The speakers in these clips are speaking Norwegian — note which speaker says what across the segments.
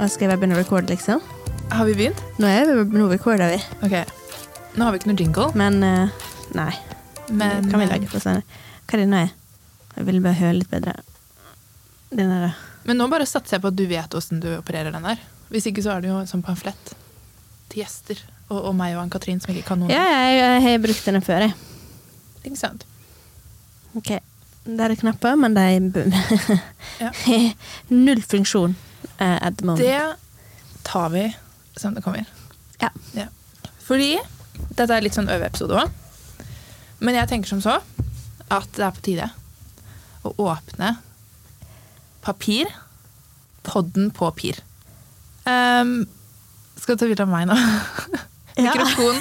Speaker 1: Og skal jeg begynne å recorde, liksom?
Speaker 2: Har vi begynt?
Speaker 1: Nå, er vi, nå recorder vi,
Speaker 2: Ok. Nå har vi ikke noe jingle,
Speaker 1: men eh, nei.
Speaker 2: men eh,
Speaker 1: kan vi lage for senere. Hva er det nå er? Jeg vil bare høre litt bedre. Den der,
Speaker 2: Men nå bare satser jeg på at du vet åssen du opererer den der. Hvis ikke så er det jo en sånn pamflett til gjester. Og, og meg og Ann-Katrin som ikke kan noen
Speaker 1: ja, jeg, jeg har brukt den før, jeg.
Speaker 2: ting. sant?
Speaker 1: Ok. Der er knapper, men de
Speaker 2: Ja.
Speaker 1: har null funksjon eh, at the moment.
Speaker 2: Det tar vi som det kommer.
Speaker 1: Ja.
Speaker 2: Fordi dette er litt sånn øveepisode òg. Men jeg tenker som så at det er på tide å åpne papir. Podden på pir. Ehm, skal du ta bilde av meg nå?
Speaker 1: Ja.
Speaker 2: Mikrofon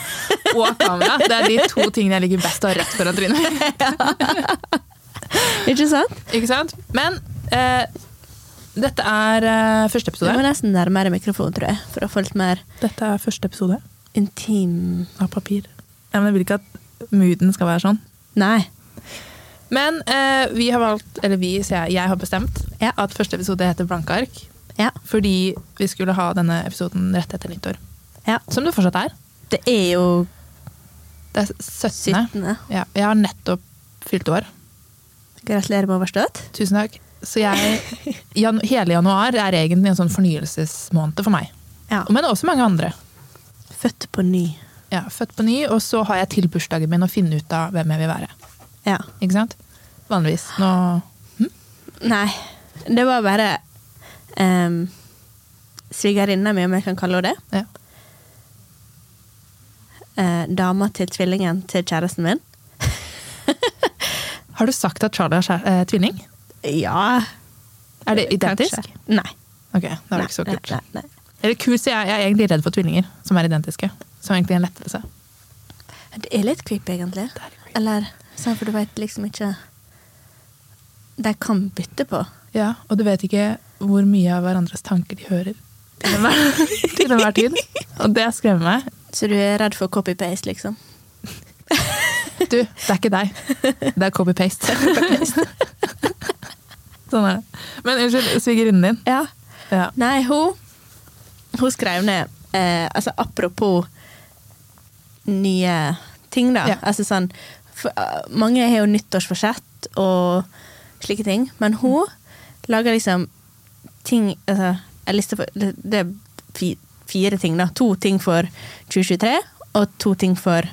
Speaker 2: og kamera. Det er de to tingene jeg ligger best og har rett foran trynet.
Speaker 1: Ikke sant?
Speaker 2: Ikke sant? Men eh, dette er eh, første
Speaker 1: Du må
Speaker 2: episode.
Speaker 1: nesten nærmere mikrofonen, tror jeg, for å få litt mer
Speaker 2: Dette er første episode.
Speaker 1: intim
Speaker 2: av papir. Ja, men jeg vil ikke at mooden skal være sånn.
Speaker 1: Nei.
Speaker 2: Men eh, vi har valgt, eller vi, sier jeg, jeg har bestemt
Speaker 1: Ja.
Speaker 2: at første episode heter Blanke ark.
Speaker 1: Ja.
Speaker 2: Fordi vi skulle ha denne episoden rett etter nyttår.
Speaker 1: ja.
Speaker 2: Som det fortsatt er.
Speaker 1: Det er jo
Speaker 2: Det er 17.
Speaker 1: 17.
Speaker 2: Ja, jeg har nettopp fylt år.
Speaker 1: Gratulerer med overstått.
Speaker 2: Tusen takk. Så jeg, jan, hele januar er egentlig en sånn fornyelsesmåned for meg.
Speaker 1: Ja.
Speaker 2: Men også mange andre.
Speaker 1: Født på ny.
Speaker 2: Ja, født på ny, og så har jeg til bursdagen min å finne ut av hvem jeg vil være.
Speaker 1: Ja.
Speaker 2: Ikke sant? Vanligvis. Nå hm?
Speaker 1: Nei, det var bare um, svigerinna mi, om jeg kan kalle henne det.
Speaker 2: ja.
Speaker 1: eh, dama til tvillingen til kjæresten min.
Speaker 2: Har du sagt at Charlie er skjær- eh, tvilling?
Speaker 1: Ja.
Speaker 2: Er det identisk?
Speaker 1: Eh, Kanskje. Nei.
Speaker 2: Ok, da er det ikke så
Speaker 1: Nei,
Speaker 2: kult.
Speaker 1: nei, nei, nei.
Speaker 2: Eller kult, så jeg, jeg er egentlig redd for tvillinger som er identiske. Som egentlig er en lettelse.
Speaker 1: Det er litt creepy, egentlig.
Speaker 2: er litt creepy.
Speaker 1: Eller sånn, for du veit liksom ikke De kan bytte på.
Speaker 2: Ja, Og du vet ikke hvor mye av hverandres tanker de hører til enhver, til enhver tid. Og det skremmer meg.
Speaker 1: Så du er redd for copy-paste, liksom?
Speaker 2: Du, det er ikke deg. Det er copy-paste. sånn er det. Men unnskyld, svigerinnen din.
Speaker 1: Ja.
Speaker 2: Ja.
Speaker 1: Nei, hun Hun skrev ned eh, Altså apropos nye ting, da.
Speaker 2: Ja.
Speaker 1: Altså sånn for, eh, Mange har jo nyttårsforsett og slike ting, men hun lager liksom ting altså, en liste for, det, det er fi, fire ting, da. To ting for 2023, og to ting for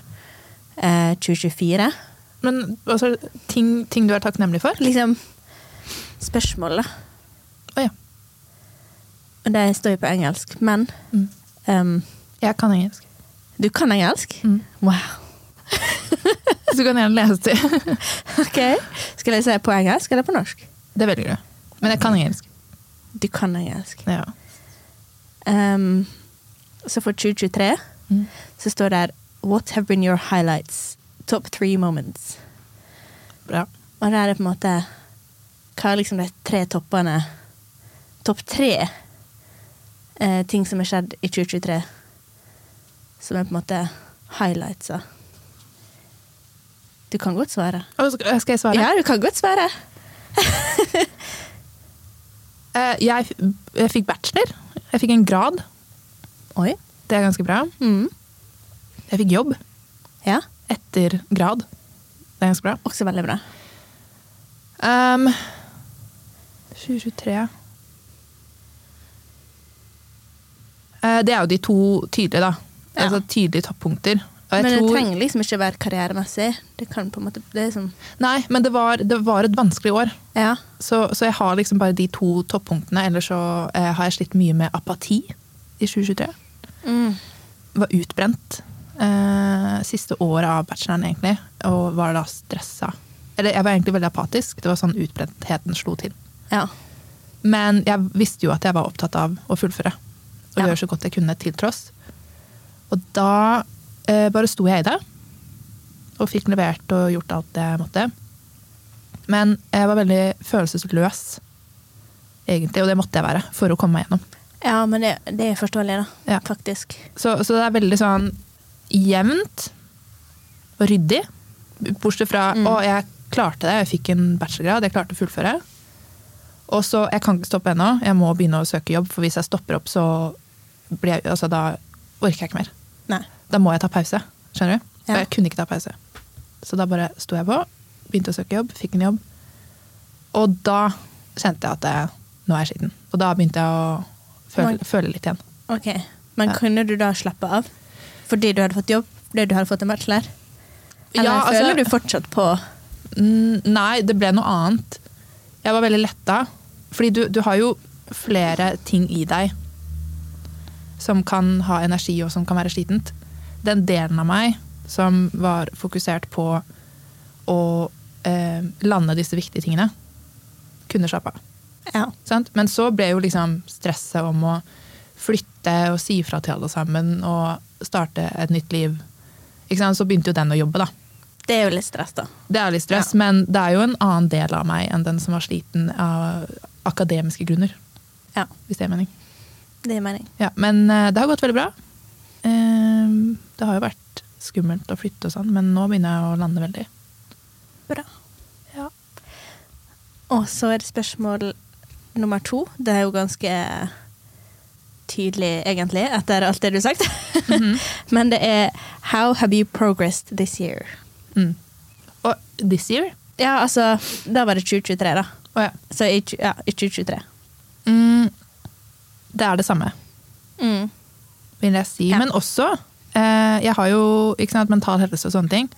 Speaker 1: eh, 2024.
Speaker 2: Men altså, ting, ting du er takknemlig for?
Speaker 1: Liksom spørsmål, da.
Speaker 2: Å ja.
Speaker 1: Og det står jo på engelsk, men
Speaker 2: Mm.
Speaker 1: ehm,
Speaker 2: Jeg kan engelsk.
Speaker 1: Du kan engelsk?
Speaker 2: Mm.
Speaker 1: Wow.
Speaker 2: Så du kan gjerne lese til.
Speaker 1: Ok. Skal jeg si på engelsk eller på norsk?
Speaker 2: Det velger du. Men jeg
Speaker 1: Mm.
Speaker 2: kan engelsk.
Speaker 1: Du kan engelsk.
Speaker 2: Ja.
Speaker 1: Ehm, så for 2023
Speaker 2: Mm.
Speaker 1: så står det her What have been your highlights? Top three moments.
Speaker 2: Bra.
Speaker 1: Og der er på en måte Hva er liksom de tre toppene Topp tre eh, ting som har skjedd i 2023, som er på en måte highlightsa. Du kan godt svare.
Speaker 2: Og skal skal jeg svare?
Speaker 1: Ja, du kan godt svare.
Speaker 2: Eh, Jeg, f- jeg fikk bachelor. Jeg fikk en grad.
Speaker 1: Oi.
Speaker 2: Det er ganske bra.
Speaker 1: Mm.
Speaker 2: Jeg fikk jobb
Speaker 1: Ja.
Speaker 2: etter grad. Det er ganske bra.
Speaker 1: Også veldig bra.
Speaker 2: Ehm, 2023 Eh, Det er jo de to tydelige, da.
Speaker 1: Ja.
Speaker 2: Altså tydelige toppunkter. Og jeg
Speaker 1: Men det
Speaker 2: tror-
Speaker 1: trenger liksom ikke være karrieremessig. Det kan på en måte det er som,
Speaker 2: Nei, men det var, det var et vanskelig år.
Speaker 1: Ja.
Speaker 2: Så, så jeg har liksom bare de to toppunktene. Ellers så eh, har jeg slitt mye med apati i 2023.
Speaker 1: Mm.
Speaker 2: var utbrent eh, siste året av bacheloren, egentlig. Og var da stressa. Eller jeg var egentlig veldig apatisk. Det var sånn utbrentheten slo til.
Speaker 1: Ja.
Speaker 2: Men jeg visste jo at jeg var opptatt av å fullføre. Og
Speaker 1: Ja.
Speaker 2: gjøre så godt jeg kunne til tross. Og da eh, bare sto jeg i det. Og fikk levert og gjort alt det jeg måtte. Men jeg var veldig følelsesløs, egentlig. Og det måtte jeg være for å komme meg gjennom.
Speaker 1: ja, men det, det er forståelig, da.
Speaker 2: Ja.
Speaker 1: Faktisk.
Speaker 2: Så, så det er veldig sånn jevnt og ryddig. Bortsett fra
Speaker 1: Mm.
Speaker 2: å, jeg klarte det, jeg fikk en bachelorgrad, jeg klarte å fullføre. Og så, Jeg kan ikke stoppe ennå, jeg må begynne å søke jobb, for hvis jeg stopper opp, så blir jeg, altså, da orker jeg ikke mer.
Speaker 1: Nei.
Speaker 2: Da må jeg ta pause. skjønner du?
Speaker 1: Ja.
Speaker 2: Og jeg kunne ikke ta pause. Så da bare sto jeg på, begynte å søke jobb, fikk en jobb. Og da kjente jeg at jeg, nå er jeg sliten. Og da begynte jeg å
Speaker 1: Oi.
Speaker 2: føle, føle litt igjen.
Speaker 1: Ok, Men
Speaker 2: Ja.
Speaker 1: kunne du da slappe av fordi du hadde fått jobb? Fordi du hadde fått en bachelor? Eller
Speaker 2: Ja, altså-
Speaker 1: føler du fortsatt på
Speaker 2: Mm, Nei, det ble noe annet. Jeg var veldig letta. Fordi du, du har jo flere ting i deg som kan ha energi, og som kan være slitent. Den delen av meg som var fokusert på å eh, lande disse viktige tingene, kunne slappe av.
Speaker 1: Ja.
Speaker 2: Sant? Men så ble jo liksom stresset om å flytte og si fra til alle sammen og starte et nytt liv. Ikke sant? Så begynte jo den å jobbe, da.
Speaker 1: Det er jo litt stress, da.
Speaker 2: Det er litt stress, men det er jo en annen del av meg enn den som var sliten av akademiske grunner.
Speaker 1: Ja,
Speaker 2: Hvis det er mening.
Speaker 1: Det gir mening.
Speaker 2: Ja, men eh, det har gått veldig bra. Ehm, Det har jo vært skummelt å flytte og sånn, men nå begynner jeg å lande veldig.
Speaker 1: Bra.
Speaker 2: Ja.
Speaker 1: Og så er det spørsmål nummer to. Det er jo ganske tydelig, egentlig, etter alt det du har sagt.
Speaker 2: Mhm.
Speaker 1: Men det er How have you progressed this year?
Speaker 2: Mm. Og this year?
Speaker 1: Ja, altså Da var det 2023, da.
Speaker 2: Å ja.
Speaker 1: Så i, tju- ja, i 2023.
Speaker 2: Mm. Det er det samme,
Speaker 1: Mm.
Speaker 2: vil jeg si.
Speaker 1: Ja.
Speaker 2: Men også eh, Jeg har jo ikke sant, mental helse og sånne ting.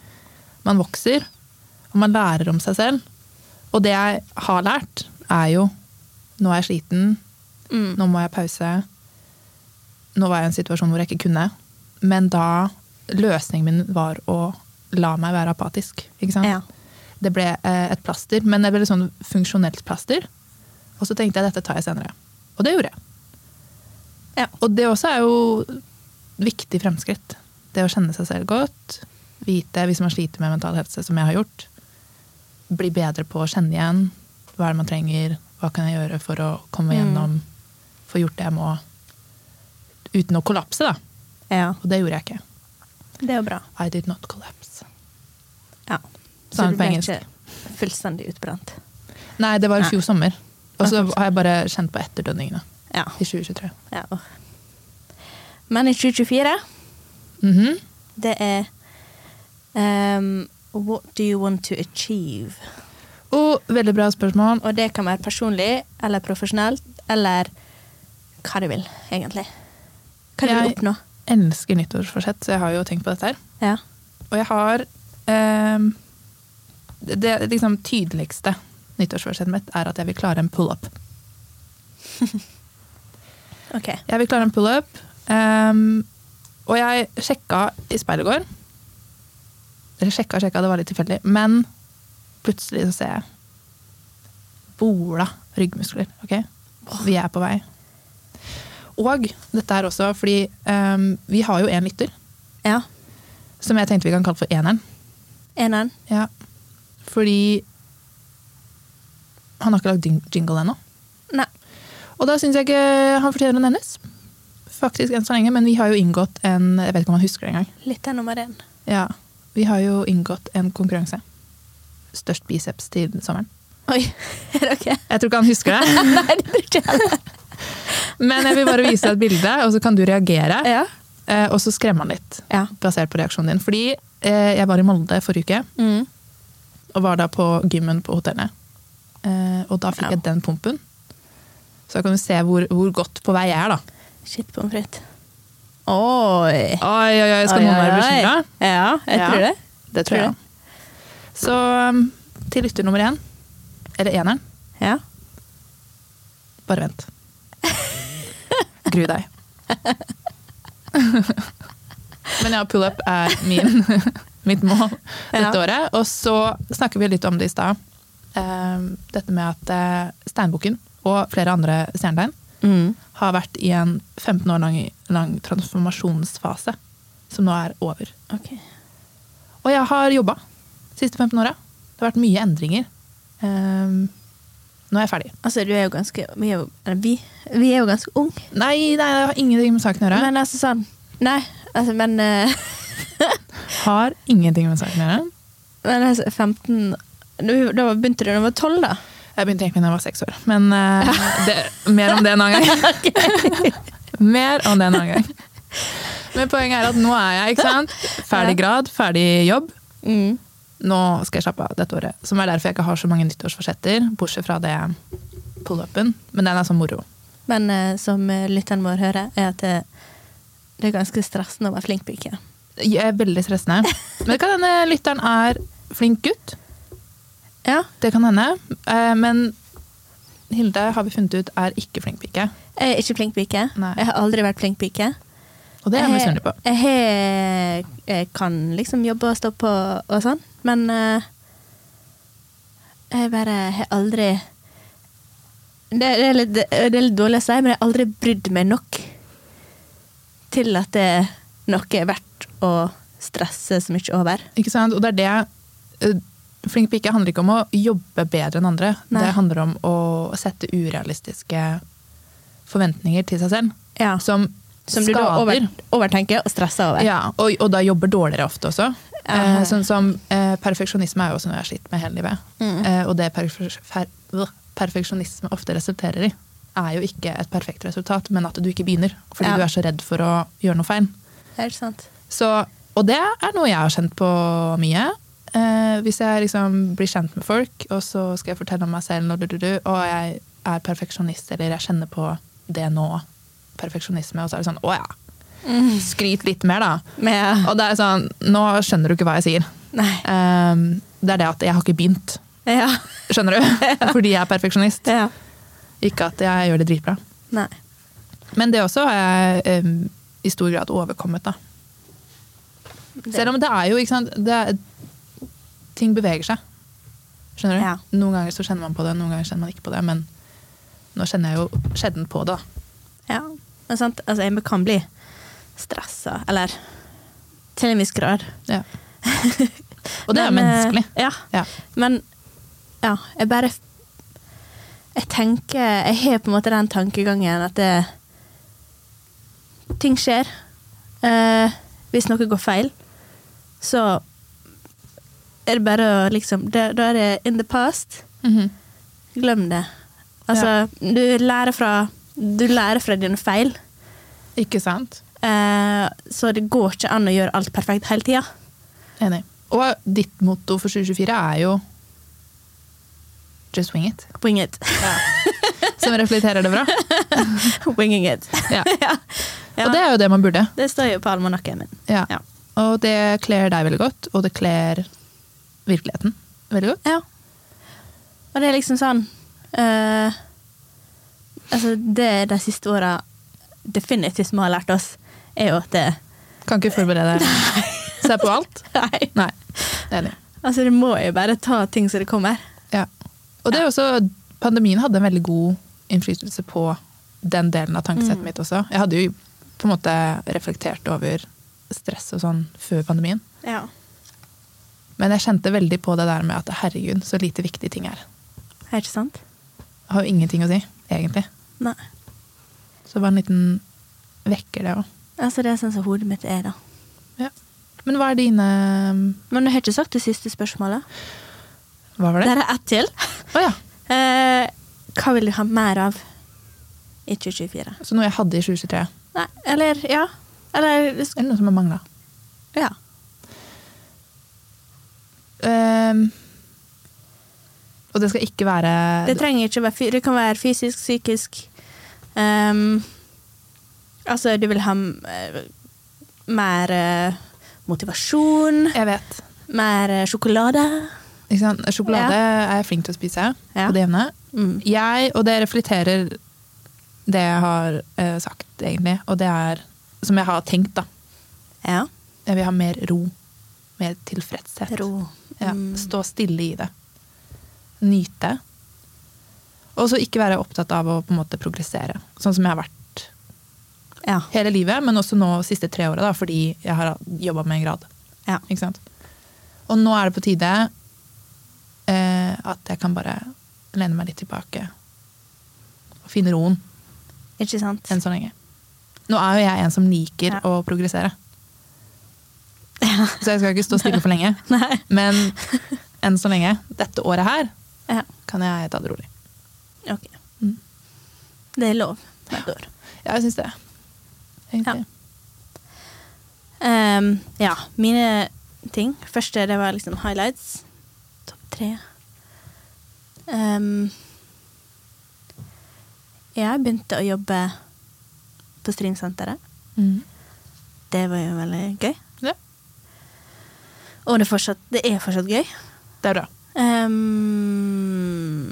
Speaker 2: Man vokser, og man lærer om seg selv. Og det jeg har lært, er jo Nå er jeg sliten.
Speaker 1: Mm.
Speaker 2: Nå må jeg pause. Nå var jeg i en situasjon hvor jeg ikke kunne. Men da Løsningen min var å la meg være apatisk. Ikke sant?
Speaker 1: Ja.
Speaker 2: Det ble eh, et plaster, men et veldig sånn funksjonelt plaster. Og så tenkte jeg dette tar jeg senere. Og det gjorde jeg.
Speaker 1: Ja.
Speaker 2: Og det også er jo viktig fremskritt. Det å kjenne seg selv godt. Vite hvis man sliter med mental helse, som jeg har gjort. Bli bedre på å kjenne igjen. Hva er det man trenger? Hva kan jeg gjøre for å komme
Speaker 1: Mm.
Speaker 2: gjennom? Få gjort det jeg må. Uten å kollapse, da.
Speaker 1: ja.
Speaker 2: Og det gjorde jeg ikke.
Speaker 1: Det er jo bra.
Speaker 2: I did not collapse.
Speaker 1: Ja.
Speaker 2: Sa han på
Speaker 1: ble
Speaker 2: engelsk.
Speaker 1: ikke fullstendig utbrent.
Speaker 2: Nei, det var i
Speaker 1: Nei.
Speaker 2: fjor sommer. Og så har jeg bare kjent på etterdønningene
Speaker 1: Ja.
Speaker 2: i 2023.
Speaker 1: ja. Men i 2024
Speaker 2: Mhm.
Speaker 1: Det er ehm, What do you want to achieve?
Speaker 2: Og veldig bra spørsmål.
Speaker 1: Og det kan være personlig eller profesjonelt eller hva du vil, egentlig. Hva du vil
Speaker 2: Jeg-
Speaker 1: oppnå.
Speaker 2: Elsker nyttårsforsett, så jeg har jo tenkt på dette her.
Speaker 1: Ja.
Speaker 2: Og jeg har ehm, Det det liksom tydeligste nyttårsforsettet mitt er at jeg vil klare en pull-up.
Speaker 1: OK.
Speaker 2: Jeg vil klare en pull-up, ehm, og jeg sjekka i speilet i går. Eller sjekka, sjekka, det var litt tilfeldig. Men plutselig så ser jeg bola ryggmuskler. ok? Vi er på vei. Og dette er også fordi ehm, vi har jo én lytter,
Speaker 1: Ja.
Speaker 2: som jeg tenkte vi kan kalle for eneren.
Speaker 1: Eneren.
Speaker 2: Ja. Fordi han har ikke lagd jing- jingle ennå.
Speaker 1: Nei.
Speaker 2: Og da syns jeg ikke han fortjener å nevnes. Faktisk enn så lenge, men vi har jo inngått en Jeg vet ikke om han husker det engang.
Speaker 1: Litt av nummer én.
Speaker 2: Ja, vi har jo inngått en konkurranse. Størst biceps til sommeren.
Speaker 1: Oi. Er det OK?
Speaker 2: Jeg tror ikke han husker det,
Speaker 1: Nei, det blir ikke heller.
Speaker 2: men jeg vil bare vise deg et bilde, og så kan du reagere.
Speaker 1: Ja.
Speaker 2: eh, Og så skremme han litt,
Speaker 1: Ja.
Speaker 2: basert på reaksjonen din. Fordi eh, jeg var i Molde forrige uke,
Speaker 1: Mm.
Speaker 2: og var da på gymmen på hotellet. Eh, og da fikk jeg den pumpen. Så da kan du se hvor, hvor godt på vei jeg er, da.
Speaker 1: Shit pommes frites. Oi.
Speaker 2: Oi, oi, oi, skal
Speaker 1: Oi,
Speaker 2: noen
Speaker 1: oi,
Speaker 2: være
Speaker 1: oi.
Speaker 2: bekymra?
Speaker 1: Ja, jeg
Speaker 2: Ja.
Speaker 1: tror det.
Speaker 2: Det tror jeg. Så um, til lytter nummer én, eller eneren,
Speaker 1: Ja.
Speaker 2: bare vent. Gru deg. Men ja, pull-up er min, mitt mål dette
Speaker 1: Ja.
Speaker 2: året. Og så snakker vi litt om det i stad. Um, dette med at eh, Steinbukken og flere andre stjernetegn
Speaker 1: Mm.
Speaker 2: har vært i en 15 år lang, lang transformasjonsfase, som nå er over.
Speaker 1: OK.
Speaker 2: Og jeg har jobba de siste 15 åra. Det har vært mye endringer. Ehm, nå er jeg ferdig.
Speaker 1: Altså, du er jo ganske Vi er jo, eller vi, vi er jo ganske unge.
Speaker 2: Nei, nei, det har ingenting med saken å gjøre.
Speaker 1: Men altså sånn Nei, altså, men, eh,
Speaker 2: Har ingenting med saken å gjøre.
Speaker 1: men altså, 15 du, Da begynte du da du var 12, da?
Speaker 2: Jeg begynte egentlig da jeg var seks år, men eh, det, mer om det en annen gang. mer om det en annen gang. Men poenget er at nå er jeg, ikke sant? Ferdig grad, ferdig jobb.
Speaker 1: Mm.
Speaker 2: Nå skal jeg slappe av dette året. Som er derfor jeg ikke har så mange nyttårsforsetter, bortsett fra det pull-upen. Men den er sånn moro.
Speaker 1: Men eh, som eh, lytteren vår hører, er at det, det er ganske stressende å være flink pike.
Speaker 2: Jeg er veldig stressende. Men det kan hende lytteren er flink gutt.
Speaker 1: Ja,
Speaker 2: Det kan hende. Eh, Men Hilde har vi funnet ut er ikke flink pike.
Speaker 1: jeg er ikke flink pike.
Speaker 2: Nei.
Speaker 1: Jeg har aldri vært flink pike.
Speaker 2: Og det er jeg
Speaker 1: Jeg-
Speaker 2: misunnelig på.
Speaker 1: Jeg, har- jeg kan liksom jobbe og stå på og sånn, men eh, jeg bare har aldri det, det, er litt, det er litt dårlig å si, men jeg har aldri brydd meg nok til at det er noe er verdt å stresse så mye over.
Speaker 2: Ikke sant? Og det er det eh, Flink pike handler ikke om å jobbe bedre enn andre.
Speaker 1: Nei.
Speaker 2: Det handler om å sette urealistiske forventninger til seg selv.
Speaker 1: Ja.
Speaker 2: Som,
Speaker 1: Som du
Speaker 2: skader.
Speaker 1: da over, overtenker og stresser over.
Speaker 2: Ja, og, og da jobber dårligere ofte også. Eh,
Speaker 1: Ja.
Speaker 2: sånn som eh, Perfeksjonisme er jo også noe jeg har slitt med hele livet.
Speaker 1: Mm.
Speaker 2: Eh, og det perfeks- fer- øh, perfeksjonisme ofte resulterer i, er jo ikke et perfekt resultat, men at du ikke begynner. Fordi
Speaker 1: Ja.
Speaker 2: du er så redd for å gjøre noe feil.
Speaker 1: Helt sant.
Speaker 2: Så, og det er noe jeg har kjent på mye. Eh, hvis jeg liksom blir kjent med folk, og så skal jeg fortelle om meg selv, og, du, du, du, og jeg er perfeksjonist, eller jeg kjenner på det nå, perfeksjonisme, og så er det sånn, å ja,
Speaker 1: Mm.
Speaker 2: skryt litt mer da.
Speaker 1: Men
Speaker 2: Mm. Og det er sånn, nå skjønner du ikke hva jeg sier.
Speaker 1: Nei.
Speaker 2: Eh, det er det at jeg har ikke begynt,
Speaker 1: Ja.
Speaker 2: skjønner du? Fordi jeg er perfeksjonist.
Speaker 1: ja.
Speaker 2: Ikke at jeg gjør det dritbra.
Speaker 1: Nei.
Speaker 2: Men det også har jeg eh, i stor grad overkommet da. Selv om det er jo, ikke sant det er, Ting beveger seg. Skjønner du?
Speaker 1: Ja.
Speaker 2: Noen ganger så kjenner man på det, noen ganger kjenner man ikke på det. Men nå kjenner jeg jo sjelden på det. da.
Speaker 1: Ja, men sant, altså jeg kan bli stressa, eller til en viss grad.
Speaker 2: Ja. Og det er
Speaker 1: Men, eh,
Speaker 2: menneskelig.
Speaker 1: Ja,
Speaker 2: Ja.
Speaker 1: men ja, jeg bare Jeg tenker Jeg har på en måte den tankegangen at det Ting skjer. Eh, hvis noe går feil, så er det bare å liksom Da da er det in the past.
Speaker 2: Mhm.
Speaker 1: Glem det. Altså, du lærer fra Du lærer fra dine feil.
Speaker 2: Ikke sant?
Speaker 1: Eh, så det går ikke an å gjøre alt perfekt hele tida.
Speaker 2: Enig. Og ditt motto for 2024 er jo Just wing it.
Speaker 1: Wing it.
Speaker 2: Som reflekterer det bra.
Speaker 1: Winging it.
Speaker 2: Ja.
Speaker 1: ja. Ja.
Speaker 2: Og det
Speaker 1: det,
Speaker 2: er jo det man burde.
Speaker 1: står jo på almanakken min.
Speaker 2: Ja.
Speaker 1: Ja.
Speaker 2: Og det kler deg veldig godt, og det kler virkeligheten veldig godt.
Speaker 1: Ja. Og det er liksom sånn eh, Altså, det de siste åra definitivt som har lært oss, er jo at det
Speaker 2: Kan ikke forberede deg. Se på alt.
Speaker 1: Nei.
Speaker 2: Nei. Enig.
Speaker 1: Altså, du må jo bare ta ting som det kommer.
Speaker 2: Ja. Og det er også, pandemien hadde en veldig god innflytelse på den delen av tankesettet mitt også. Jeg hadde jo på en måte reflektert over stress og sånn før pandemien.
Speaker 1: Ja.
Speaker 2: Men jeg kjente veldig på det der med at herregud, så lite viktige ting er.
Speaker 1: Er ikke sant?
Speaker 2: Det Har jo ingenting å si, egentlig.
Speaker 1: Nei.
Speaker 2: Så det var en liten vekker, det òg.
Speaker 1: Altså, det er sånn som hodet mitt er, da.
Speaker 2: Ja. Men hva er dine
Speaker 1: Men du har ikke sagt det siste spørsmålet.
Speaker 2: Hva var det?
Speaker 1: Der er ett til.
Speaker 2: Å ja.
Speaker 1: Eh, hva vil du ha mer av i 2024?
Speaker 2: Så noe jeg hadde i 2023.
Speaker 1: Nei, eller ja. Eller
Speaker 2: Eller noe som har mangla.
Speaker 1: ja.
Speaker 2: Ehm, og det skal ikke være
Speaker 1: Det trenger ikke å være fy- Det kan være fysisk, psykisk ehm, Altså, du vil ha m- eh, mer eh, motivasjon,
Speaker 2: Jeg vet.
Speaker 1: mer eh, sjokolade.
Speaker 2: Ikke sant? Sjokolade er jeg flink til å spise
Speaker 1: Ja.
Speaker 2: på det jevne.
Speaker 1: Mm.
Speaker 2: Jeg, og det reflekterer det jeg har eh, sagt, egentlig, og det er som jeg har tenkt, da.
Speaker 1: Ja.
Speaker 2: Jeg vil ha mer ro. Mer tilfredshet.
Speaker 1: Ro.
Speaker 2: Ja.
Speaker 1: Mm.
Speaker 2: Stå stille i det. Nyte. Og så ikke være opptatt av å på en måte progressere, sånn som jeg har vært
Speaker 1: Ja.
Speaker 2: hele livet, men også nå siste tre året, da, fordi jeg har jobba med en grad.
Speaker 1: ja.
Speaker 2: Ikke sant? Og nå er det på tide eh, at jeg kan bare lene meg litt tilbake og finne roen
Speaker 1: Ikke sant?
Speaker 2: enn så lenge. Nå er jo jeg en som liker
Speaker 1: Ja.
Speaker 2: å progressere. Så jeg skal ikke stå stille for lenge.
Speaker 1: Nei.
Speaker 2: Men enn så lenge, dette året her,
Speaker 1: Ja.
Speaker 2: kan jeg ta det rolig.
Speaker 1: Ok.
Speaker 2: Mm.
Speaker 1: Det er lov hvert år.
Speaker 2: Ja, jeg syns det. Egentlig.
Speaker 1: Ehm, ja, mine ting. Første det var liksom highlights. Topp tre. Ehm, jeg begynte å jobbe på Streamsenteret.
Speaker 2: Mm.
Speaker 1: Det var jo veldig gøy.
Speaker 2: Ja.
Speaker 1: Og det er fortsatt, det er fortsatt gøy.
Speaker 2: Det er bra.
Speaker 1: Ehm.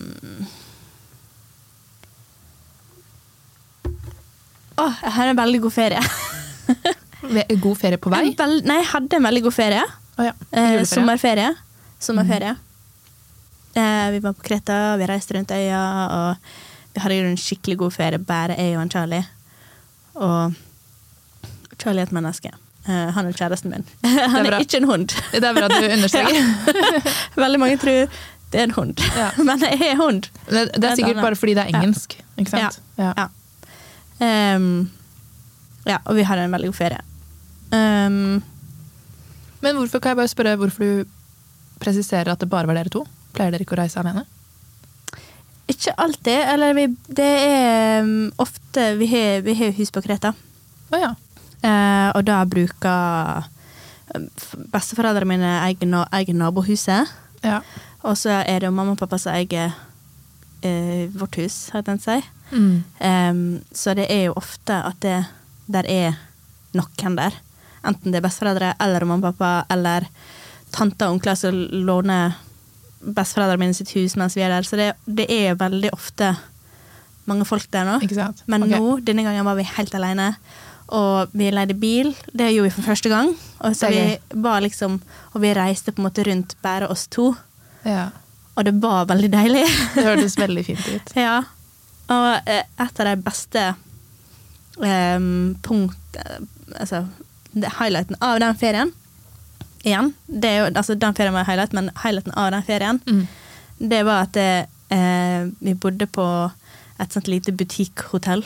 Speaker 1: Åh, jeg har en veldig god ferie.
Speaker 2: Ve- God ferie på
Speaker 1: En
Speaker 2: vei.
Speaker 1: vel- nei, jeg hadde en veldig god ferie.
Speaker 2: Å ja.
Speaker 1: Eh,
Speaker 2: Juleferie.
Speaker 1: sommerferie. Sommerferie.
Speaker 2: Mhm.
Speaker 1: Eh, vi var på Kreta, vi reiste rundt øya, og vi hadde jo en skikkelig god ferie, bare jeg og han Charlie. Og Charlie er et menneske. Eh, han er kjæresten min. han er,
Speaker 2: bra.
Speaker 1: ikke en hund.
Speaker 2: Det er bra du understreker.
Speaker 1: Veldig mange tror det er en hund,
Speaker 2: Ja.
Speaker 1: men jeg er en hund.
Speaker 2: Det, det
Speaker 1: Det er
Speaker 2: er sikkert
Speaker 1: bra.
Speaker 2: bare fordi det er
Speaker 1: Ja.
Speaker 2: engelsk. Ikke sant? Ja.
Speaker 1: Ja. Ehm, ja, og vi hadde en veldig god ferie. Ehm,
Speaker 2: Men hvorfor kan jeg bare spørre hvorfor du presiserer at det bare var dere to? Pleier dere ikke å reise alene?
Speaker 1: ikke alltid, eller vi, det er um, ofte Vi har vi har jo hus på Kreta,
Speaker 2: Å ja.
Speaker 1: Eh, og da bruker um, f- besteforeldrene mine eier na- eier nabohuset.
Speaker 2: ja.
Speaker 1: Og så er det jo mamma og pappa som eier eh, vårt hus, har jeg tenkt å si.
Speaker 2: Mm.
Speaker 1: Ehm, så det er jo ofte at det der er noen der. Enten det er besteforeldre eller mamma og pappa eller tante og onkler som låner besteforeldrene mine sitt hus mens vi er der. Så det, det er veldig ofte mange folk der nå.
Speaker 2: Ikke sant?
Speaker 1: Men
Speaker 2: Ok.
Speaker 1: nå, denne gangen var vi helt alene. Og vi leide bil. Det gjorde vi for første gang. Og, så
Speaker 2: Det er
Speaker 1: vi var liksom, og vi reiste på en måte rundt bare oss to.
Speaker 2: Ja.
Speaker 1: Og det var veldig deilig.
Speaker 2: Det hørtes veldig fint ut.
Speaker 1: Ja, og eh, et av de beste eh, punkt eh, Altså, det, highlighten av den ferien Igjen, det er jo, altså den ferien var highlight, men highlighten av den ferien,
Speaker 2: Mm.
Speaker 1: det var at eh, eh, vi bodde på et sånt lite butikkhotell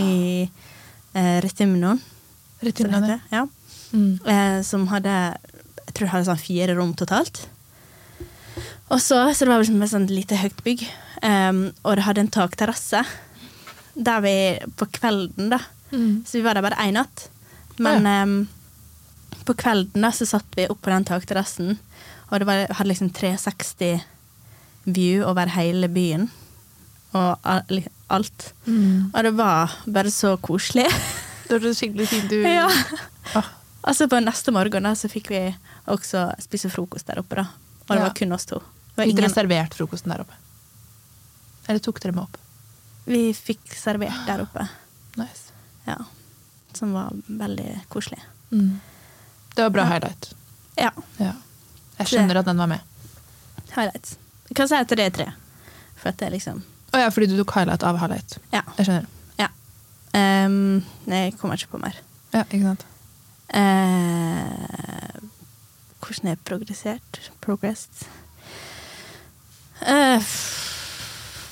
Speaker 1: i eh, Retimnon,
Speaker 2: Rett
Speaker 1: som
Speaker 2: inn
Speaker 1: det
Speaker 2: i det.
Speaker 1: heter. Ja.
Speaker 2: Mm.
Speaker 1: Eh, som hadde Jeg tror det hadde sånn fire rom totalt. Og så, så det var liksom et sånt lite høyt bygg, em, og det hadde en takterrasse der vi På kvelden, da.
Speaker 2: Mm.
Speaker 1: Så vi var der bare én natt. Men em, på kvelden da så satt vi opp på den takterrassen, og det var, hadde liksom 360 view over hele byen og al- alt.
Speaker 2: Mm.
Speaker 1: Og det var bare så koselig.
Speaker 2: Det hørtes skikkelig fint ut. Ah,
Speaker 1: ja.
Speaker 2: Åh,
Speaker 1: Altså på neste morgen da, så fikk vi også spise frokost der oppe. da. Og det
Speaker 2: Ja.
Speaker 1: var kun oss to. Det var
Speaker 2: fikk dere
Speaker 1: ingen,
Speaker 2: servert frokosten der oppe? Eller tok dere med opp?
Speaker 1: vi fikk servert der oppe,
Speaker 2: Nice.
Speaker 1: ja. som var veldig koselig.
Speaker 2: Mm. Det var bra highlight.
Speaker 1: Ja,
Speaker 2: Ja. Jeg skjønner at den var med.
Speaker 1: highlights. Jeg kan si at det er tre. For at det er liksom
Speaker 2: Å ja, fordi du tok highlight av highlight.
Speaker 1: Ja.
Speaker 2: Jeg skjønner.
Speaker 1: ja. Ehm, nei, jeg kommer ikke på mer.
Speaker 2: Ja, ikke sant?
Speaker 1: Eh, hvordan er progressert? Progressed? Eh,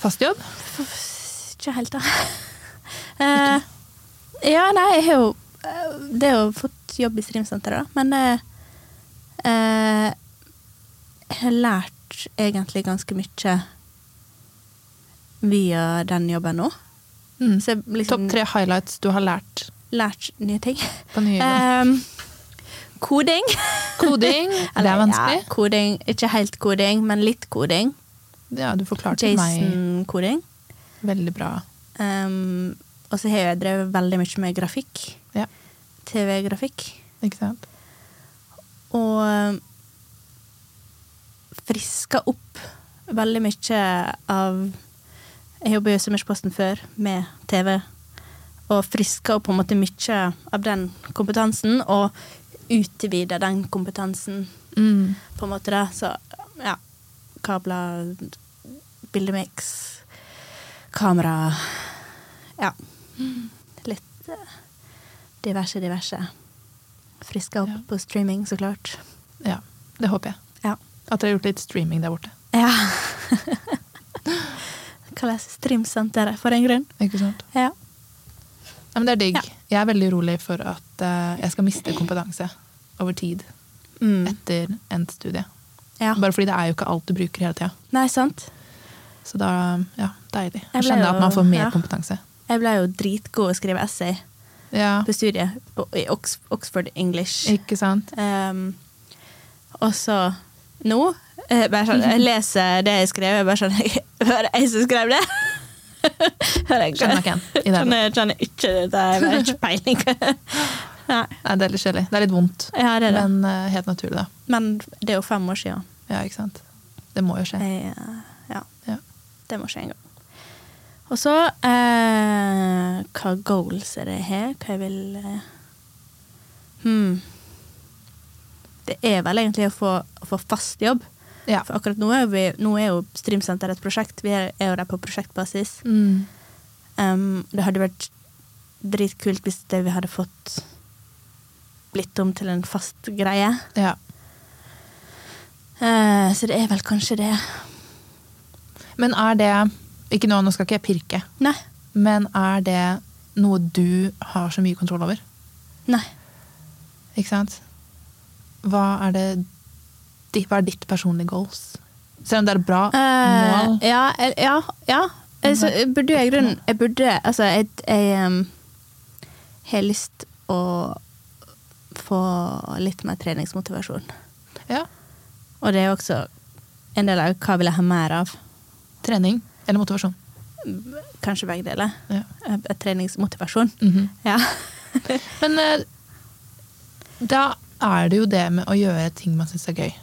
Speaker 2: Fast jobb?
Speaker 1: Ikke helt, da. Eh, ja, nei, jeg har jo eh, Det er jo fått jobb i Streamsenteret, da. Men eh, eh, jeg har lært egentlig ganske mye via den jobben nå.
Speaker 2: Mm.
Speaker 1: Så jeg liksom
Speaker 2: Topp tre highlights du har lært
Speaker 1: lært nye ting.
Speaker 2: på nye jobben?
Speaker 1: Eh, koding.
Speaker 2: Koding. Det er
Speaker 1: Eller,
Speaker 2: vanskelig.
Speaker 1: Ja, koding. Ikke helt koding, men litt koding.
Speaker 2: Ja, du forklarte meg
Speaker 1: Jason-koding.
Speaker 2: veldig bra.
Speaker 1: Um, og så har jeg drevet veldig mye med grafikk.
Speaker 2: Ja,
Speaker 1: TV-grafikk.
Speaker 2: ikke sant?
Speaker 1: Og um, friska opp veldig mye av Jeg jobber jo i Summersposten før med TV. Og friska opp på en måte mye av den kompetansen, og utvida den kompetansen,
Speaker 2: Mm.
Speaker 1: på en måte. da. Så ja. Kabler, bildemiks, kamera Ja. Litt eh, diverse, diverse. Friska opp
Speaker 2: Ja.
Speaker 1: på streaming, så klart.
Speaker 2: Ja, det håper jeg.
Speaker 1: Ja.
Speaker 2: At dere har gjort litt streaming der borte.
Speaker 1: ja. Kalles Streamsenteret, for en grunn.
Speaker 2: Ikke sant?
Speaker 1: Ja.
Speaker 2: Ja, men det er digg.
Speaker 1: Ja.
Speaker 2: Jeg er veldig urolig for at eh, jeg skal miste kompetanse over tid
Speaker 1: Mm.
Speaker 2: etter endt studie.
Speaker 1: ja.
Speaker 2: Bare fordi det er jo ikke alt du bruker hele tida.
Speaker 1: Nei, sant?
Speaker 2: Så da Ja, deilig.
Speaker 1: Jeg
Speaker 2: Jeg
Speaker 1: ble
Speaker 2: kjenner at
Speaker 1: jo-
Speaker 2: man får mer
Speaker 1: ja.
Speaker 2: kompetanse.
Speaker 1: Jeg ble jo dritgod å skrive essay
Speaker 2: Ja,
Speaker 1: på studiet på- i Ox- Oxford English.
Speaker 2: ikke sant?
Speaker 1: Ehm, og så nå eh, bare sånn, Jeg leser det jeg skrev, jeg bare sånn Hører jeg som skrev det? Hører jeg
Speaker 2: Skjønner ikke en i det.
Speaker 1: Skjønner, skjønner ikke det. Jeg har ikke peiling. Nei,
Speaker 2: Nei, det er litt kjedelig. Det er litt vondt.
Speaker 1: ja, det er det.
Speaker 2: Men eh, helt naturlig, da.
Speaker 1: Men det er jo fem år siden.
Speaker 2: Ja, ikke sant? Det må jo skje.
Speaker 1: Jeg, eh, ja.
Speaker 2: Ja.
Speaker 1: Det må skje en gang. Og så eh, Hva goals er det jeg har? Hva jeg vil eh, hmm. Det er vel egentlig å få, å få fast jobb.
Speaker 2: Ja.
Speaker 1: For akkurat nå er, vi, nå er jo Streamsenter et prosjekt. Vi er, er jo der på prosjektbasis.
Speaker 2: Mm.
Speaker 1: Um, det hadde vært dritkult hvis det vi hadde fått blitt om til en fast greie.
Speaker 2: ja.
Speaker 1: Eh, så det er vel kanskje det.
Speaker 2: Men er det Ikke nå, nå skal ikke jeg pirke.
Speaker 1: Nei.
Speaker 2: Men er det noe du har så mye kontroll over?
Speaker 1: Nei.
Speaker 2: Ikke sant? Hva er det di- Hva er ditt personlige goals? Selv om det er et bra
Speaker 1: Eh,
Speaker 2: mål.
Speaker 1: ja, eh, ja, ja. Eh, Så eh, burde jeg i grunnen Jeg burde Altså, jeg, jeg em, har lyst å få litt mer treningsmotivasjon.
Speaker 2: Ja.
Speaker 1: Og det er jo også en del av hva vil jeg ha mer av.
Speaker 2: Trening eller motivasjon.
Speaker 1: Kanskje begge deler.
Speaker 2: Ja.
Speaker 1: Eh, eh, Treningsmotivasjon.
Speaker 2: Mhm.
Speaker 1: Ja.
Speaker 2: Men eh, da er det jo det med å gjøre ting man syns er gøy.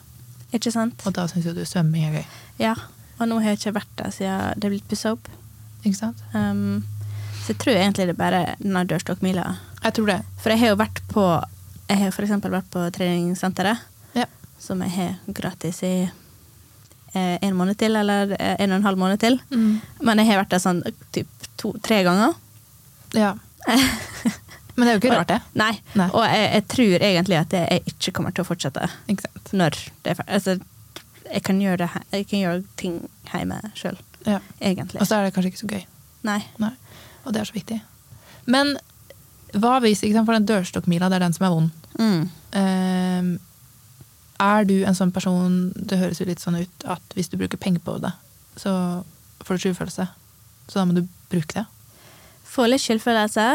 Speaker 1: Ikke sant?
Speaker 2: Og da syns jo du svømming er gøy.
Speaker 1: Ja. Og nå har jeg ikke vært der siden det er blitt pussa opp.
Speaker 2: Ikke sant?
Speaker 1: Em, så jeg tror egentlig det er bare denne dørstokkmila.
Speaker 2: Jeg tror det.
Speaker 1: For jeg har jo vært på Jeg har for eksempel vært på treningssenteret,
Speaker 2: Ja.
Speaker 1: som jeg har gratis i eh, en måned til, eller eh, en og en halv måned til.
Speaker 2: Mm.
Speaker 1: Men jeg har vært der sånn typ to-tre ganger.
Speaker 2: ja. Men det er jo ikke rart, det.
Speaker 1: Nei.
Speaker 2: Nei.
Speaker 1: Og jeg, jeg tror egentlig at jeg ikke kommer til å fortsette
Speaker 2: Ikke sant?
Speaker 1: når det er ferdig. Altså, jeg kan gjøre, det, he- jeg kan gjøre ting hjemme sjøl,
Speaker 2: Ja.
Speaker 1: egentlig.
Speaker 2: Og så er det kanskje ikke så gøy.
Speaker 1: Nei.
Speaker 2: Nei. Og det er så viktig. Men hva hvis ikke sant, For den dørstokkmila, det er den som er vond.
Speaker 1: Mm.
Speaker 2: Ehm, er du en sånn person Det høres jo litt sånn ut at hvis du bruker penger på det, så får du skyldfølelse. Så da må du bruke det.
Speaker 1: Får litt skyldfølelse,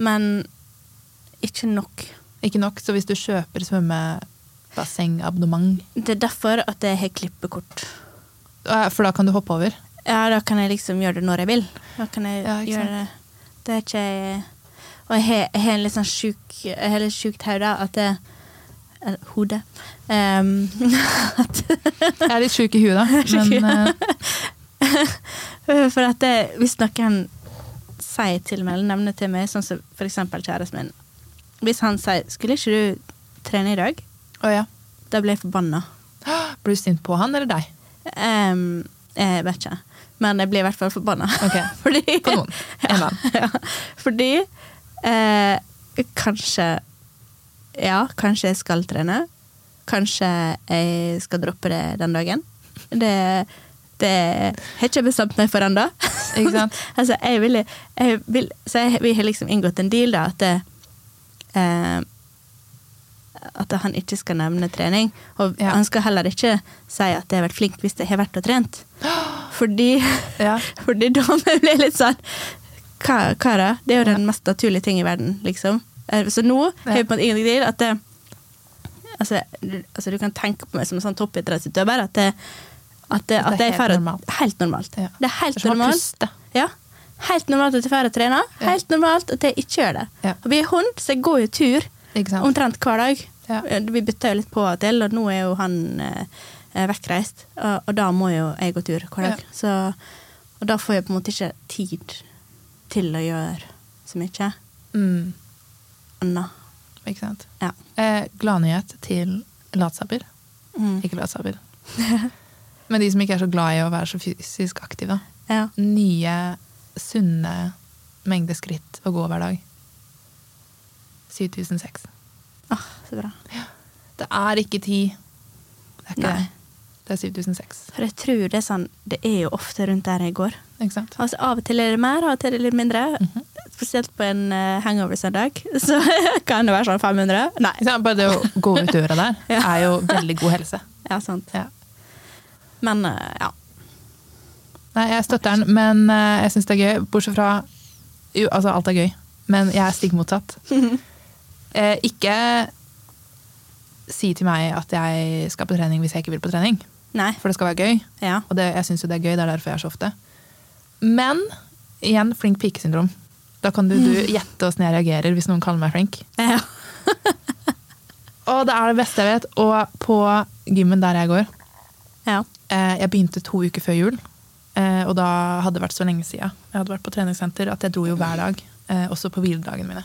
Speaker 1: men ikke nok.
Speaker 2: Ikke nok, så hvis du kjøper svømmebassengabonnement,
Speaker 1: Det er derfor at jeg har klippekort.
Speaker 2: eh, for da kan du hoppe over.
Speaker 1: Ja, da kan jeg liksom gjøre det når jeg vil. Da kan jeg
Speaker 2: Ja, ikke
Speaker 1: gjøre det. Det er ikke Og jeg har- jeg har en litt sånn sjuk Jeg har litt sjukt hode at det Eller hode. Ehm,
Speaker 2: Jeg er litt sjuk i huet, da. Men eh,
Speaker 1: for at det, hvis noen sier til meg, eller nevner til meg, sånn som for eksempel kjæresten min Hvis han sier 'Skulle ikke du trene i dag?'
Speaker 2: eh, å ja.
Speaker 1: Da blir jeg forbanna.
Speaker 2: Blir du sint på han eller deg?
Speaker 1: Ehm, jeg vet ikke. Men jeg blir i hvert fall forbanna.
Speaker 2: Ok,
Speaker 1: Fordi
Speaker 2: På noen. En eller annen.
Speaker 1: ja, fordi eh, kanskje Ja, kanskje jeg skal trene. Kanskje jeg skal droppe det den dagen. Det, det har ikke jeg bestemt meg for ennå.
Speaker 2: Ikke sant?
Speaker 1: altså, jeg vil, jeg vil, så jeg, vi har liksom inngått en deal, da, at det, eh, At han ikke skal nevne trening. Og
Speaker 2: Ja.
Speaker 1: han skal heller ikke si at jeg har vært flink hvis jeg har vært og trent. Fordi
Speaker 2: Ja.
Speaker 1: fordi damer blir litt sånn Hva, hva da? Det er jo den mest naturlige ting i verden, liksom. Eh, Så nå har jeg på en måte ingenting til at det, altså, du, altså, du kan tenke på meg som en sånn toppidrettsutøver at det, at det, at
Speaker 2: Det er
Speaker 1: det er
Speaker 2: helt
Speaker 1: helt
Speaker 2: normalt.
Speaker 1: normalt. Helt normalt.
Speaker 2: Ja.
Speaker 1: Det er
Speaker 2: Det er
Speaker 1: helt
Speaker 2: som å
Speaker 1: normalt.
Speaker 2: puste.
Speaker 1: Ja. Helt normalt at jeg drar og trener.
Speaker 2: Ja.
Speaker 1: Helt normalt at jeg ikke gjør det.
Speaker 2: Ja.
Speaker 1: Og vi er hund, så jeg går jo tur
Speaker 2: Ikke sant?
Speaker 1: omtrent hver dag. Eh,
Speaker 2: Ja.
Speaker 1: Vi bytter jo litt på og til, og nå er jo han eh, eh, vekkreist, og, og da må jo jeg gå tur hver dag.
Speaker 2: Ja.
Speaker 1: Så, og da får jeg på en måte ikke tid til å gjøre så mye
Speaker 2: Mm,
Speaker 1: annet.
Speaker 2: ikke sant?
Speaker 1: Ja.
Speaker 2: Eh, Gladnyhet til latsabber.
Speaker 1: Mm.
Speaker 2: Ikke latsabber. Men de som ikke er så glad i å være så fysisk aktive. da.
Speaker 1: ja.
Speaker 2: Nye, sunne mengder skritt å gå hver dag. 7006.
Speaker 1: Åh, Ah, så bra.
Speaker 2: Det er ikke ti. Det er ikke
Speaker 1: Nei.
Speaker 2: det. Det er 7006.
Speaker 1: For jeg tror det er sånn Det er jo ofte rundt der jeg går.
Speaker 2: Ikke sant?
Speaker 1: Altså Av og til er det mer, av og til er det litt mindre.
Speaker 2: Mhm.
Speaker 1: Spesielt på en eh, hangover-søndag. Så kan det være sånn 500. Nei.
Speaker 2: Ikke sant? Bare det å gå ut døra der
Speaker 1: Ja.
Speaker 2: er jo veldig god helse.
Speaker 1: Ja, sant.
Speaker 2: Ja.
Speaker 1: Men eh, ja.
Speaker 2: Nei, jeg støtter den, men eh, jeg syns det er gøy. Bortsett fra Jo, altså, alt er gøy, men jeg er stigmotsatt. Eh, ikke si til meg at jeg skal på trening hvis jeg ikke vil på trening.
Speaker 1: Nei.
Speaker 2: For det skal være gøy,
Speaker 1: Ja.
Speaker 2: og det, jeg syns jo det er gøy. Det er derfor jeg er så ofte. Men igjen, flink pike-syndrom. Da kan du, du gjette åssen jeg reagerer hvis noen kaller meg flink.
Speaker 1: ja.
Speaker 2: Og det er det beste jeg vet. Og på gymmen der jeg går,
Speaker 1: ja.
Speaker 2: Eh, Jeg begynte to uker før jul, eh, og da hadde det vært så lenge siden. Jeg hadde vært på treningssenter at jeg dro jo hver dag, eh, også på hviledagene mine.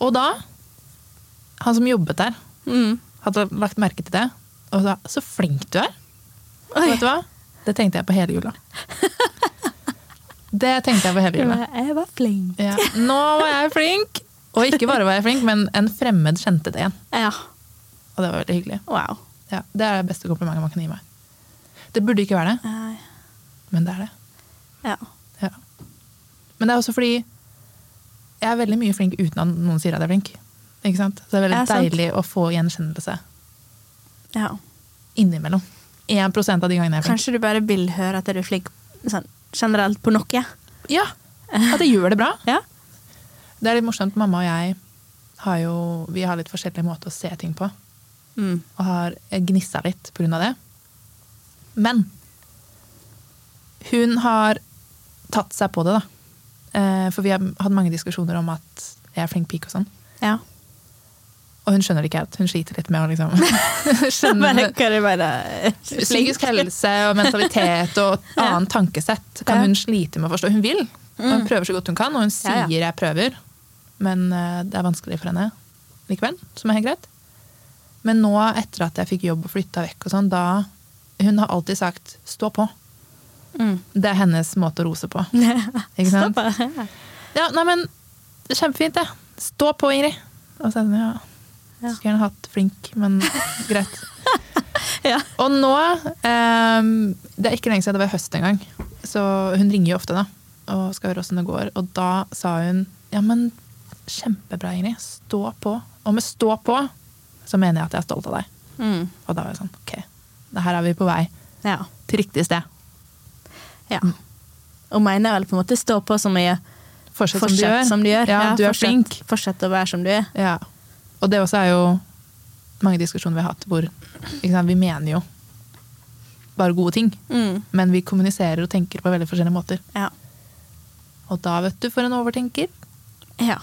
Speaker 2: Og da Han som jobbet der,
Speaker 1: Mm.
Speaker 2: hadde lagt merke til det, og sa 'så flink du er'. Og
Speaker 1: Oi.
Speaker 2: vet du hva? Det tenkte jeg på hele jula. Det tenkte jeg på hele
Speaker 1: Jeg
Speaker 2: jula.
Speaker 1: var, jeg var flink.
Speaker 2: Ja. Nå var jeg flink! Og ikke bare var jeg flink, men en fremmed kjente det igjen.
Speaker 1: Ja.
Speaker 2: Og det var veldig hyggelig.
Speaker 1: Wow.
Speaker 2: Ja, det er det beste komplimentet man kan gi meg. Det burde ikke være det,
Speaker 1: Nei.
Speaker 2: men det er det.
Speaker 1: Eh, Ja.
Speaker 2: Ja. Men det er også fordi jeg er veldig mye flink uten at noen sier at jeg er flink. Ikke sant? Så det er veldig
Speaker 1: Ja, sant.
Speaker 2: deilig å få gjenkjennelse
Speaker 1: ja.
Speaker 2: innimellom. 1 av de gangene jeg er flink.
Speaker 1: Kanskje du bare vil høre at du er flink sånn, generelt på noe.
Speaker 2: Ja, At jeg gjør det bra.
Speaker 1: Ja.
Speaker 2: Det er litt morsomt. Mamma og jeg har jo vi har litt forskjellig måte å se ting på.
Speaker 1: Mm.
Speaker 2: Og har gnissa litt pga. det. Men hun har tatt seg på det, da. Eh, For vi har hatt mange diskusjoner om at jeg er flink pike og sånn.
Speaker 1: Ja.
Speaker 2: Og hun skjønner det ikke helt. Hun sliter litt med å liksom skjønne
Speaker 1: Bare, bare, bare,
Speaker 2: Psykisk helse og mentalitet og annet tankesett kan
Speaker 1: Ja. Mm.
Speaker 2: hun slite med å forstå. Hun vil, og hun prøver så godt hun kan, og hun
Speaker 1: Ja, ja.
Speaker 2: sier 'jeg prøver', men eh, det er vanskelig for henne likevel, som er helt greit. Men nå, etter at jeg fikk jobb og flytta vekk og sånn, da Hun har alltid sagt 'stå på'.
Speaker 1: Mm.
Speaker 2: Det er hennes måte å rose på. Ikke sant?
Speaker 1: Stopp.
Speaker 2: Ja, nei, men det er kjempefint, det. Stå på, Ingrid. Og så er det sånn, ja.
Speaker 1: Ja.
Speaker 2: Skulle gjerne hatt flink, men greit.
Speaker 1: Ja.
Speaker 2: Og nå ehm, Det er ikke lenge siden det var høst engang. Så hun ringer jo ofte da og skal høre åssen det går. Og da sa hun ja, men kjempebra, Ingrid. Stå på. Og med stå på så mener jeg at jeg er stolt av deg.
Speaker 1: Mm.
Speaker 2: Og da var jeg sånn ok, det her er vi på vei
Speaker 1: Ja.
Speaker 2: til riktig sted.
Speaker 1: ja.
Speaker 2: Mm.
Speaker 1: Og mener vel på en måte stå på som jeg
Speaker 2: Fortsett,
Speaker 1: fortsett
Speaker 2: som du gjør. Ja, du er
Speaker 1: fortsett,
Speaker 2: flink.
Speaker 1: Fortsett å være som du er.
Speaker 2: Ja. Og det også er jo mange diskusjoner vi har hatt hvor ikke sant, vi mener jo bare gode ting,
Speaker 1: Mm.
Speaker 2: men vi kommuniserer og tenker på veldig forskjellige måter.
Speaker 1: Ja.
Speaker 2: Og da, vet du, for en overtenker
Speaker 1: ja.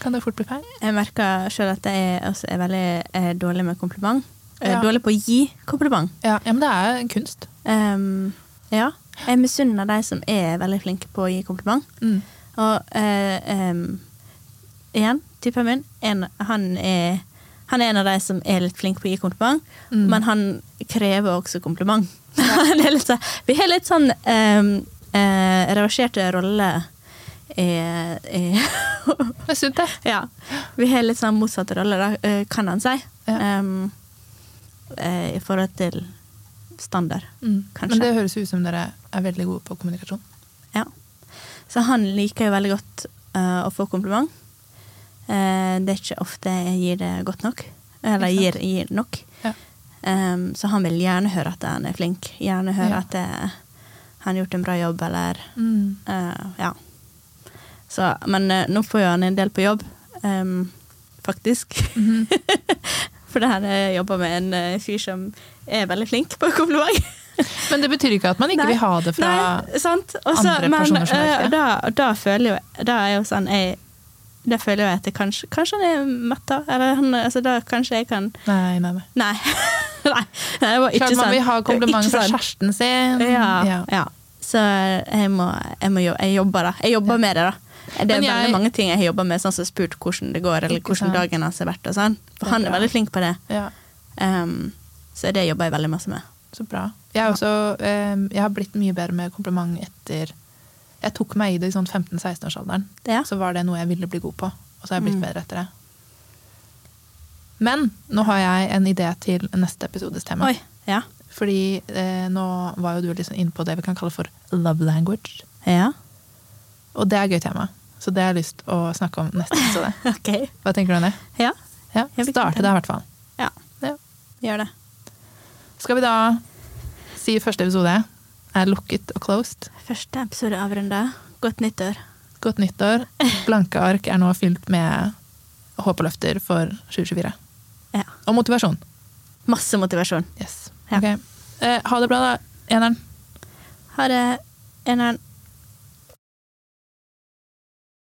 Speaker 2: kan det fort bli feil.
Speaker 1: Jeg merker sjøl at jeg er, også er veldig eh, dårlig med kompliment. Jeg er
Speaker 2: Ja.
Speaker 1: Dårlig på å gi kompliment.
Speaker 2: Ja, ja, men det er en kunst.
Speaker 1: Ehm, ja. Jeg misunner de som er veldig flinke på å gi kompliment. Og eh, ehm, igjen, typen min, en, han, er, han er en av de som er litt flink på å gi kompliment,
Speaker 2: Mm.
Speaker 1: men han krever også kompliment. Han er litt, sånn- vi har litt sånn ehm, eh, reverserte roller i, i
Speaker 2: Det er sunt, det.
Speaker 1: Ja. Vi har litt sånn motsatte roller, da, eh, kan han si,
Speaker 2: Ja.
Speaker 1: Ehm, eh, i forhold til standard. Mm, Kanskje.
Speaker 2: Men det høres jo ut som dere er veldig gode på kommunikasjon.
Speaker 1: Ja. Så han liker jo veldig godt eh, å få kompliment. Eh, det er ikke ofte jeg gir det godt nok. Eller
Speaker 2: Ikke
Speaker 1: gir, gir det nok.
Speaker 2: Ja.
Speaker 1: Em, så han vil gjerne høre at han er flink. Gjerne høre
Speaker 2: Ja.
Speaker 1: at eh, han har gjort en bra jobb, eller eh, Ja. Så, men eh, nå får jo han en del på jobb, em, faktisk.
Speaker 2: Mhm.
Speaker 1: For det her eh, jobber med en eh, fyr som er veldig flink på kompliment.
Speaker 2: Men det betyr ikke at man ikke
Speaker 1: Nei.
Speaker 2: vil ha det fra
Speaker 1: Nei, sant. Også,
Speaker 2: andre
Speaker 1: men,
Speaker 2: personer som er
Speaker 1: eh,
Speaker 2: viktige.
Speaker 1: Da, da føler jo Da er jo sånn jeg, Da føler jeg at jeg kanskje Kanskje han er metta, eller han altså, da kanskje jeg kan
Speaker 2: Nei, nei, nei.
Speaker 1: Nei. nei, det var ikke
Speaker 2: Klart man
Speaker 1: sånn.
Speaker 2: vil ha
Speaker 1: Det var
Speaker 2: kompliment
Speaker 1: ikke
Speaker 2: fra
Speaker 1: sånn.
Speaker 2: kjæresten sin.
Speaker 1: Ja, ja.
Speaker 2: Ja.
Speaker 1: Så jeg må, jeg må jo- jeg jobber, da. Jeg jobber med det, da. Det er
Speaker 2: Men jeg-
Speaker 1: veldig mange ting jeg har jobba med, sånn som spurt hvordan det går, eller
Speaker 2: Ikke sant.
Speaker 1: hvordan dagen hans har vært, og sånn.
Speaker 2: Det
Speaker 1: For
Speaker 2: er
Speaker 1: han er
Speaker 2: bra.
Speaker 1: veldig flink på det.
Speaker 2: ja.
Speaker 1: Ehm, så det jobber jeg veldig masse med.
Speaker 2: Så bra. Jeg, er også, eh, jeg har blitt mye bedre med kompliment etter Jeg tok meg i det i sånn 15-16-årsalderen.
Speaker 1: Ja. Mm.
Speaker 2: Så var det noe jeg ville bli god på, og så har jeg blitt bedre etter det. Men nå har jeg en idé til neste episodes tema.
Speaker 1: Oi. Ja.
Speaker 2: Fordi eh, nå var jo du liksom inne på det vi kan kalle for love language.
Speaker 1: Ja.
Speaker 2: Og det er et gøy tema, så det har jeg lyst å snakke om neste episode.
Speaker 1: OK.
Speaker 2: Hva tenker du om det?
Speaker 1: Ja.
Speaker 2: Ja,
Speaker 1: Jeg blir
Speaker 2: Starte
Speaker 1: content.
Speaker 2: det i hvert fall.
Speaker 1: ja.
Speaker 2: Ja.
Speaker 1: Gjør det.
Speaker 2: Skal vi da si første episode er lukket og closed.
Speaker 1: Første episode avrunda. Godt nyttår.
Speaker 2: Godt nyttår. Blanke ark er nå fylt med håp og løfter for 2024.
Speaker 1: Ja.
Speaker 2: Og motivasjon.
Speaker 1: Masse motivasjon.
Speaker 2: Yes.
Speaker 1: Ja.
Speaker 2: Ok. Eh, ha det bra, da, eneren.
Speaker 1: Ha det. Eneren.